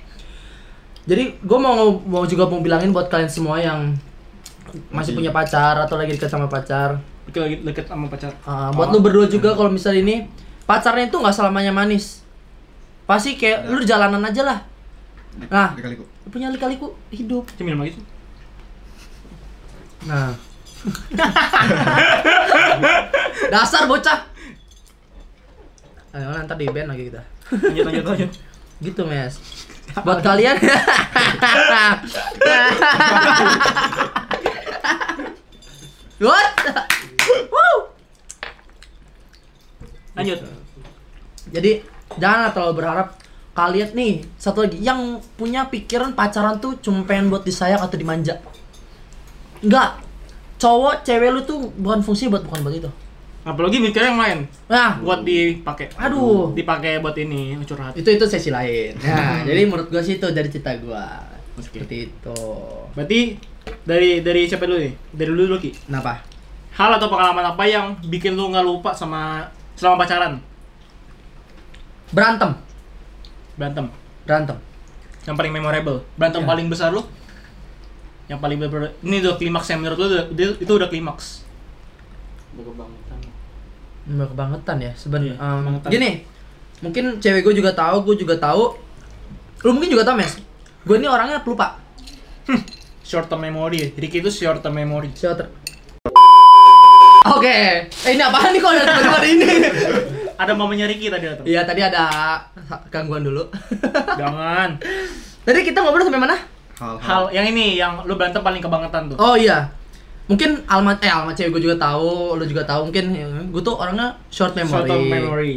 Speaker 1: jadi gue mau mau juga mau bilangin buat kalian semua yang masih punya pacar atau lagi dekat sama pacar
Speaker 2: Ricky lagi deket sama pacar.
Speaker 1: Uh,
Speaker 2: Oh.
Speaker 1: buat lu berdua juga kalau misalnya ini pacarnya itu nggak selamanya manis pasti kayak lu jalanan aja lah nah
Speaker 3: Kali kok.
Speaker 1: lu punya lika-liku hidup
Speaker 2: Cuma minum lagi tuh.
Speaker 1: Nah. Dasar bocah. Ayo lah, ntar di band lagi kita.
Speaker 2: Lanjut lanjut lanjut.
Speaker 1: Gitu, Mes. Buat kalian. What? Woo!
Speaker 2: Lanjut.
Speaker 1: Jadi janganlah terlalu berharap kalian nih satu lagi yang punya pikiran pacaran tuh cuma pengen buat disayang atau dimanja. Enggak. Cowok cewek lu tuh bukan fungsi buat bukan buat itu.
Speaker 2: Apalagi mikirnya yang lain
Speaker 1: Nah,
Speaker 2: buat dipakai.
Speaker 1: Aduh.
Speaker 2: Dipakai buat ini curhat.
Speaker 1: itu itu sesi lain. Nah, jadi menurut gua sih itu dari cerita gua.
Speaker 2: Ya. Oke.
Speaker 1: Seperti itu.
Speaker 2: Berarti dari dari siapa dulu nih? Dari dulu dulu Ki.
Speaker 1: Kenapa?
Speaker 2: Hal atau pengalaman apa yang bikin lu nggak lupa sama selama pacaran?
Speaker 1: Berantem.
Speaker 2: Berantem.
Speaker 1: Berantem.
Speaker 2: Yang paling memorable. Berantem
Speaker 1: Iya.
Speaker 2: paling besar lu? Yang paling ber ini udah klimaks ya menurut lu udah- udah- itu udah klimaks.
Speaker 4: Berkebangetan.
Speaker 1: Nggak kebangetan ya sebenarnya.
Speaker 2: Iya,
Speaker 1: Em,
Speaker 2: kebangetan.
Speaker 1: gini, mungkin cewek gue juga tahu, gue juga tahu. Lu mungkin juga tahu, Mes. Gue ini orangnya pelupa.
Speaker 2: Short term memory. Ricky itu short term memory.
Speaker 1: Shelter. Oke, eh, ini apaan nih kok ada tiba-tiba ada ini?
Speaker 2: Ada mamanya Ricky tadi datang.
Speaker 1: Iya tadi ada gangguan dulu.
Speaker 2: Jangan.
Speaker 1: tadi kita ngobrol sampai mana?
Speaker 2: Hal yang ini yang lu berantem paling kebangetan tuh.
Speaker 1: Oh iya. Mungkin Alma eh Alma cewek gue juga tahu, lu juga tahu mungkin ya, gue tuh orangnya short memory.
Speaker 2: Short term memory.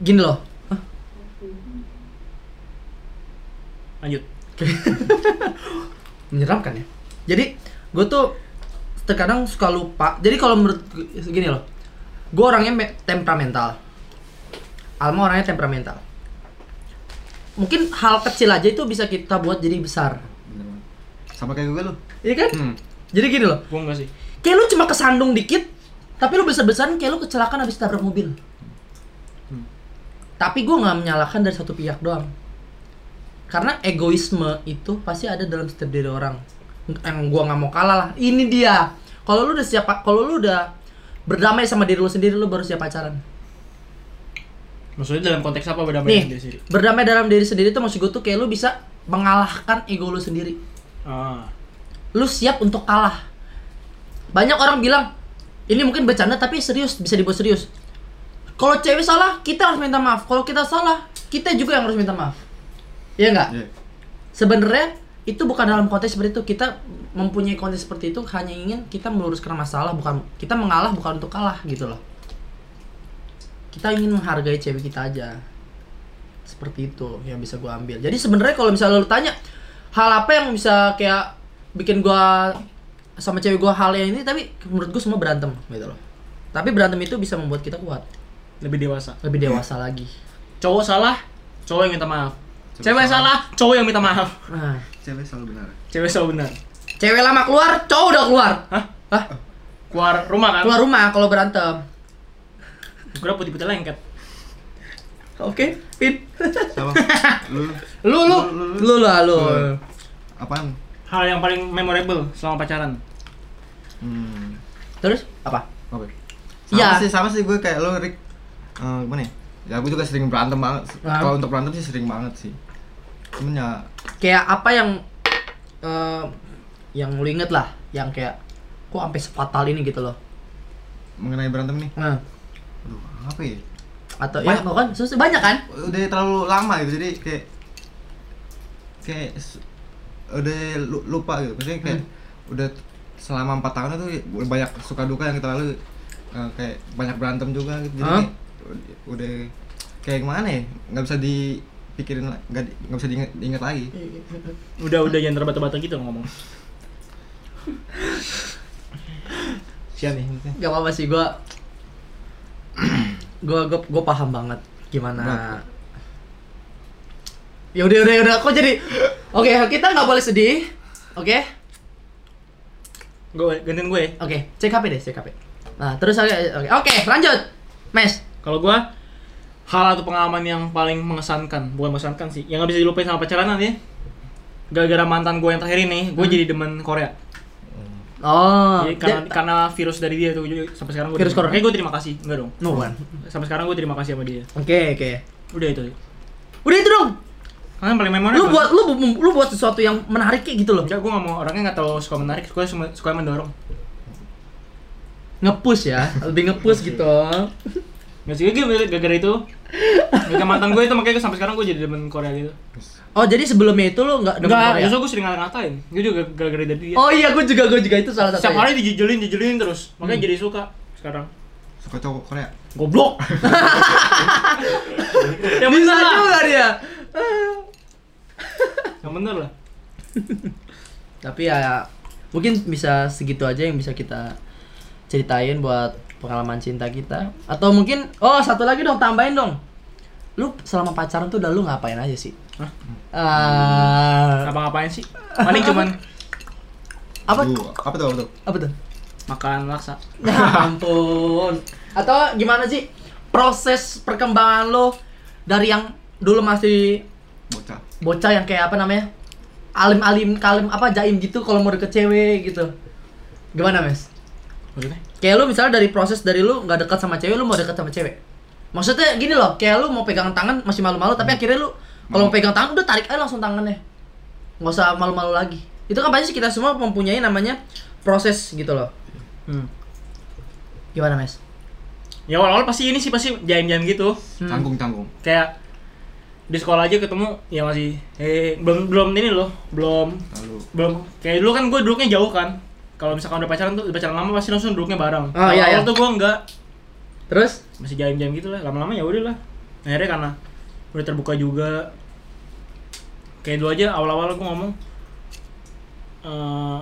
Speaker 1: Gini loh. Hah?
Speaker 2: Lanjut.
Speaker 1: Menyeramkan ya. Jadi gue tuh terkadang suka lupa. Jadi kalau menurut gue- gini loh. Gue orangnya me- temperamental. Alma orangnya temperamental. Mungkin hal kecil aja itu bisa kita buat jadi besar.
Speaker 3: Bener banget. Sama kayak gue lu.
Speaker 1: Iya kan?
Speaker 3: Hmm.
Speaker 1: Jadi gini loh.
Speaker 2: Gua enggak sih.
Speaker 1: Kayak lu cuma kesandung dikit, tapi lu besar-besaran kayak lu kecelakaan habis tabrak mobil. Tapi gue nggak menyalahkan dari satu pihak doang. Karena egoisme itu pasti ada dalam setiap diri orang. Yang gue nggak mau kalah lah. Ini dia. Kalau lu udah siap, kalau lu udah berdamai sama diri lu sendiri, lu baru siap pacaran.
Speaker 2: Maksudnya dalam konteks apa beda
Speaker 1: Nih,
Speaker 2: beda sih?
Speaker 1: berdamai dalam diri sendiri tuh maksud gue tuh kayak lu bisa mengalahkan ego lu sendiri.
Speaker 2: Ah.
Speaker 1: lu siap untuk kalah. Banyak orang bilang, ini mungkin bercanda tapi serius, bisa dibuat serius. Kalau cewek salah, kita harus minta maaf. Kalau kita salah, kita juga yang harus minta maaf. Iya nggak?
Speaker 3: Iya.
Speaker 1: Sebenarnya itu bukan dalam konteks seperti itu. Kita mempunyai konteks seperti itu hanya ingin kita meluruskan masalah, bukan kita mengalah bukan untuk kalah gitu loh. Kita ingin menghargai cewek kita aja. Seperti itu yang bisa gua ambil. Jadi sebenarnya kalau misalnya lu tanya hal apa yang bisa kayak bikin gua sama cewek gue hal yang ini tapi menurut gue semua berantem gitu loh tapi berantem itu bisa membuat kita kuat
Speaker 2: lebih dewasa
Speaker 1: lebih dewasa lagi
Speaker 2: cowok salah cowok yang minta maaf
Speaker 3: Cewek
Speaker 2: cewek salah cowok yang minta maaf
Speaker 1: nah
Speaker 3: Cewek selalu benar.
Speaker 2: cewek selalu benar
Speaker 1: cewek lama keluar cowok udah keluar
Speaker 2: hah
Speaker 1: Hah?
Speaker 2: keluar rumah kan
Speaker 1: keluar rumah kalau berantem
Speaker 2: Gua putih-putih lengket
Speaker 1: oke pin
Speaker 3: Siapa? Lu lu.
Speaker 1: lu lu lu lah lu
Speaker 3: Lu. apaan?
Speaker 2: hal yang paling memorable selama pacaran
Speaker 3: Hmm.
Speaker 1: terus apa
Speaker 3: Apa? ya?
Speaker 1: Iya.
Speaker 3: Sama sih, sama sih gue kayak lo Rick. Eh, gimana ya? Ya aku juga sering berantem banget.
Speaker 1: Ah.
Speaker 3: Kalau untuk berantem sih sering banget sih. Cuman ya
Speaker 1: kayak apa yang eh, yang lu inget lah yang kayak kok sampai sefatal ini gitu loh
Speaker 3: mengenai berantem nih.
Speaker 1: nah,
Speaker 3: Aduh, apa ya?
Speaker 1: atau ya kan susah banyak kan
Speaker 3: Udah terlalu lama gitu jadi kayak kayak s- udah lu- lupa gitu. Maksudnya kayak
Speaker 1: Hmm.
Speaker 3: udah t- selama empat tahun itu udah banyak suka duka yang kita lalu eh, kayak banyak berantem juga gitu. Jadi
Speaker 1: Hah?
Speaker 3: kayak ud- udah kayak gimana ya? Nggak bisa dipikirin la- nggak di- nggak bisa diinget, diinget lagi.
Speaker 2: udah udah jangan terbata-bata gitu ngomong
Speaker 3: Sian nih maksudnya.
Speaker 1: gak apa-apa sih gua gua gua gua paham banget gimana
Speaker 3: Berat.
Speaker 1: ya udah udah udah kok jadi oke kita nggak boleh sedih oke
Speaker 2: gue gantiin gue ya.
Speaker 1: oke cek hp deh cek hp nah terus oke oke Oke, lanjut mes
Speaker 2: kalau gue hal atau pengalaman yang paling mengesankan bukan mengesankan sih yang gak bisa dilupain sama pacaran ya gara-gara mantan gue yang terakhir ini gue jadi demen Korea
Speaker 1: oh
Speaker 2: Jadi karena,
Speaker 1: Hmm. dia-
Speaker 2: karena virus dari dia tuh jadi sampai sekarang gue
Speaker 1: Virus corona?
Speaker 2: gue terima kasih enggak dong
Speaker 1: no one
Speaker 2: sampai sekarang gue terima kasih sama dia
Speaker 1: oke oke
Speaker 2: udah itu
Speaker 1: udah itu dong
Speaker 2: kalian paling memorable
Speaker 1: lu buat lu bu- lu buat sesuatu yang menarik kayak gitu loh
Speaker 2: enggak gue gak mau orangnya gak terlalu suka menarik gue suka, suka mendorong
Speaker 1: ngepush ya lebih ngepush gitu
Speaker 2: Gak sih, gue gara-gara itu Gara-gara mantan gue itu makanya sampai sekarang gue jadi demen Korea gitu
Speaker 1: oh jadi sebelumnya itu lu nggak demen
Speaker 2: Enggak,
Speaker 1: Korea?
Speaker 2: justru gue sering ngatain Gue juga gara-gara dari dia
Speaker 1: oh iya gue juga gue juga itu salah satu ya.
Speaker 2: Setiap hari dijejelin, dijejelin terus Makanya
Speaker 1: Hmm.
Speaker 2: jadi suka sekarang
Speaker 3: Suka cowok Korea.
Speaker 2: Goblok Yang
Speaker 1: bisa
Speaker 2: bener lah
Speaker 1: juga dia
Speaker 2: Yang bener lah
Speaker 1: tapi ya mungkin bisa segitu aja yang bisa kita ceritain buat pengalaman cinta kita atau mungkin oh satu lagi dong tambahin dong lu selama pacaran tuh udah lu ngapain aja sih
Speaker 2: Hah?
Speaker 1: Eh,
Speaker 2: Ngapa-ngapain sih? Paling cuman
Speaker 1: apa
Speaker 3: Aduh, apa tuh? Apa tuh?
Speaker 1: apa tuh
Speaker 2: makan laksa
Speaker 1: ya ampun atau gimana sih proses perkembangan lo dari yang dulu masih
Speaker 3: Bocah.
Speaker 1: bocah yang kayak apa namanya alim-alim kalim apa jaim gitu kalau mau deket cewek gitu gimana mes
Speaker 2: Maksudnya?
Speaker 1: Kayak lu misalnya dari proses dari lu nggak dekat sama cewek, lu mau dekat sama cewek. Maksudnya gini loh, kayak lu mau pegang tangan masih malu-malu, tapi akhirnya lu kalau mau pegang tangan udah tarik aja langsung tangannya. Nggak usah malu-malu lagi. Itu kan pasti kita semua mempunyai namanya proses gitu loh.
Speaker 2: Hmm.
Speaker 1: Gimana, Mes?
Speaker 2: Ya awal-awal pasti ini sih pasti jaim-jaim gitu
Speaker 1: Hmm.
Speaker 3: Canggung canggung.
Speaker 2: Kayak di sekolah aja ketemu ya masih eh belum belum ini loh belum
Speaker 3: Lalu
Speaker 2: belum kayak dulu kan gue duduknya jauh kan kalau misalkan udah pacaran tuh udah pacaran lama pasti langsung duduknya bareng
Speaker 1: Oh, iya,
Speaker 2: Awal-awal
Speaker 1: iya.
Speaker 2: tuh gue enggak
Speaker 1: Terus?
Speaker 2: masih jaim-jaim gitu lah lama-lama ya udah lah akhirnya karena udah terbuka juga kayak dulu aja awal-awal gue ngomong eh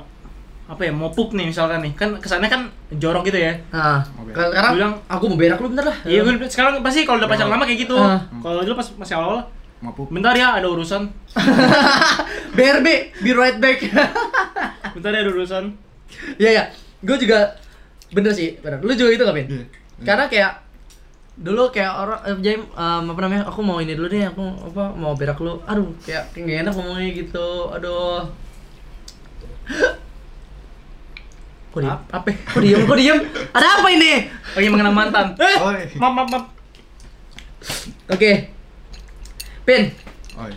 Speaker 2: apa ya mau pup nih misalkan nih kan kesannya kan jorok gitu ya
Speaker 1: Nah,
Speaker 3: Oke.
Speaker 1: sekarang
Speaker 2: Bilang,
Speaker 1: aku mau berak lu bentar lah.
Speaker 2: Iya, gue sekarang pasti kalau udah pacaran lama kayak gitu.
Speaker 1: Ah.
Speaker 2: Kalau dulu pas masih awal-awal,
Speaker 3: mau pup.
Speaker 2: bentar ya ada urusan.
Speaker 1: BRB, be right back.
Speaker 2: Bentar ya ada urusan.
Speaker 1: Iya, ya. Gue juga bener sih, bener. Lu juga gitu gak, Pin?
Speaker 3: Iya.
Speaker 1: Karena kayak dulu kayak orang eh, Jaim em, apa namanya? Aku mau ini dulu deh, aku apa mau berak lu. Aduh, kayak kayak gak enak ngomongnya gitu. Aduh. Kok diem?
Speaker 2: Apa?
Speaker 1: Kok diem? Kok diem? Ada apa ini?
Speaker 2: Lagi mengenang mantan. Eh,
Speaker 3: Oi.
Speaker 2: maaf, maaf, maaf.
Speaker 1: Oke. Pin,
Speaker 3: Oi.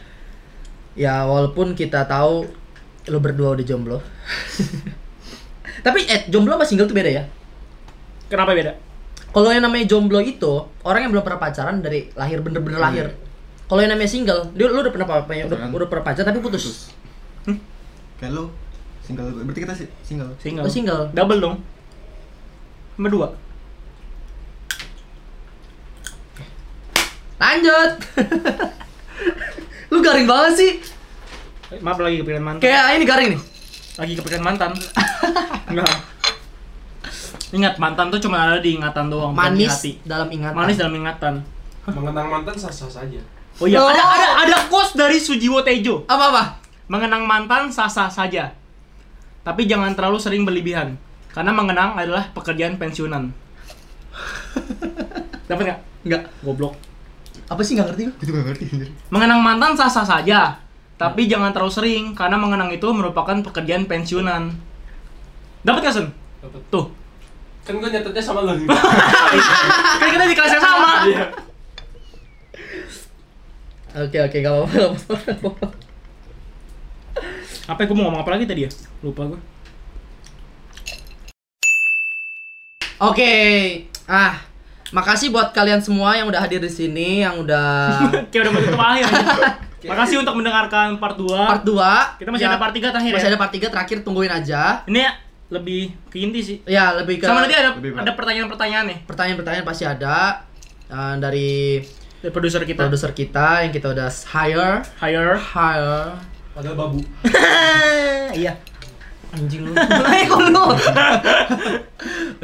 Speaker 1: ya walaupun kita tahu lu berdua udah jomblo. Tapi eh jomblo sama single tuh beda ya.
Speaker 2: Kenapa beda?
Speaker 1: Kalau yang namanya jomblo itu orang yang belum pernah pacaran dari lahir bener-bener lahir.
Speaker 2: Iya.
Speaker 1: Kalau yang namanya single, dia lu udah pernah apa udah,
Speaker 3: Pacaran.
Speaker 1: udah pernah pacaran tapi putus.
Speaker 3: Putus. Kayak lu single berarti kita si- single.
Speaker 2: Single.
Speaker 1: Lu single.
Speaker 2: Double dong. Sama dua.
Speaker 1: Lanjut. lu garing banget sih.
Speaker 2: Eh, Maaf lagi kepikiran mantan.
Speaker 1: Kayak ini garing nih.
Speaker 2: lagi kepikiran mantan enggak ingat mantan tuh cuma ada di ingatan doang bukan
Speaker 1: manis
Speaker 2: di hati.
Speaker 1: dalam ingatan
Speaker 2: manis dalam ingatan
Speaker 4: Mengenang mantan sah-sah saja.
Speaker 2: oh iya
Speaker 1: Oh.
Speaker 2: ada ada ada quotes dari Sujiwo Tejo
Speaker 1: apa apa
Speaker 2: mengenang mantan sah-sah saja tapi jangan terlalu sering berlebihan karena mengenang adalah pekerjaan pensiunan dapat nggak
Speaker 1: nggak
Speaker 2: goblok
Speaker 1: apa sih nggak ngerti
Speaker 3: Itu gak ngerti anjir.
Speaker 2: mengenang mantan sah-sah saja tapi jangan terlalu sering karena mengenang itu merupakan pekerjaan pensiunan dapat nggak sen
Speaker 4: Dapat.
Speaker 2: tuh
Speaker 4: Kan gue nyatetnya sama
Speaker 1: Eh,
Speaker 4: lo.
Speaker 2: kan kita di kelas yang sama
Speaker 4: Iya.
Speaker 1: oke oke nggak apa apa
Speaker 2: apa gue mau ngomong apa lagi tadi ya lupa gue
Speaker 1: oke ah makasih buat kalian semua yang udah hadir di sini yang udah
Speaker 2: kayak udah mau tutup akhir makasih untuk mendengarkan part 2
Speaker 1: part 2
Speaker 2: kita masih ada part 3 terakhir
Speaker 1: masih
Speaker 2: ya
Speaker 1: ada part 3 terakhir tungguin aja
Speaker 2: ini ya, lebih ke inti sih
Speaker 1: ya lebih ke
Speaker 2: sama nanti ada
Speaker 3: Lebih berat.
Speaker 2: ada pertanyaan-pertanyaan nih
Speaker 1: pertanyaan-pertanyaan pasti ada eh, dari
Speaker 2: dari produser kita
Speaker 1: produser kita yang kita udah hire
Speaker 2: hire
Speaker 1: hire
Speaker 4: Padahal babu.
Speaker 2: iya
Speaker 1: anjing lu eh kok lu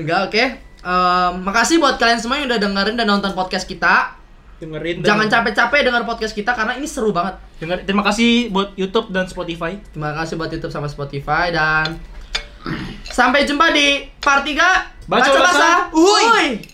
Speaker 1: enggak oke Em, makasih buat kalian semua yang udah dengerin dan nonton podcast kita
Speaker 2: dengerin dan-
Speaker 1: jangan capek-capek denger podcast kita karena ini seru banget
Speaker 2: denger- terima kasih buat YouTube dan Spotify
Speaker 1: terima kasih buat YouTube sama Spotify dan sampai jumpa di part 3
Speaker 2: Baca Basah.
Speaker 1: Uhuy.
Speaker 2: Uhuy.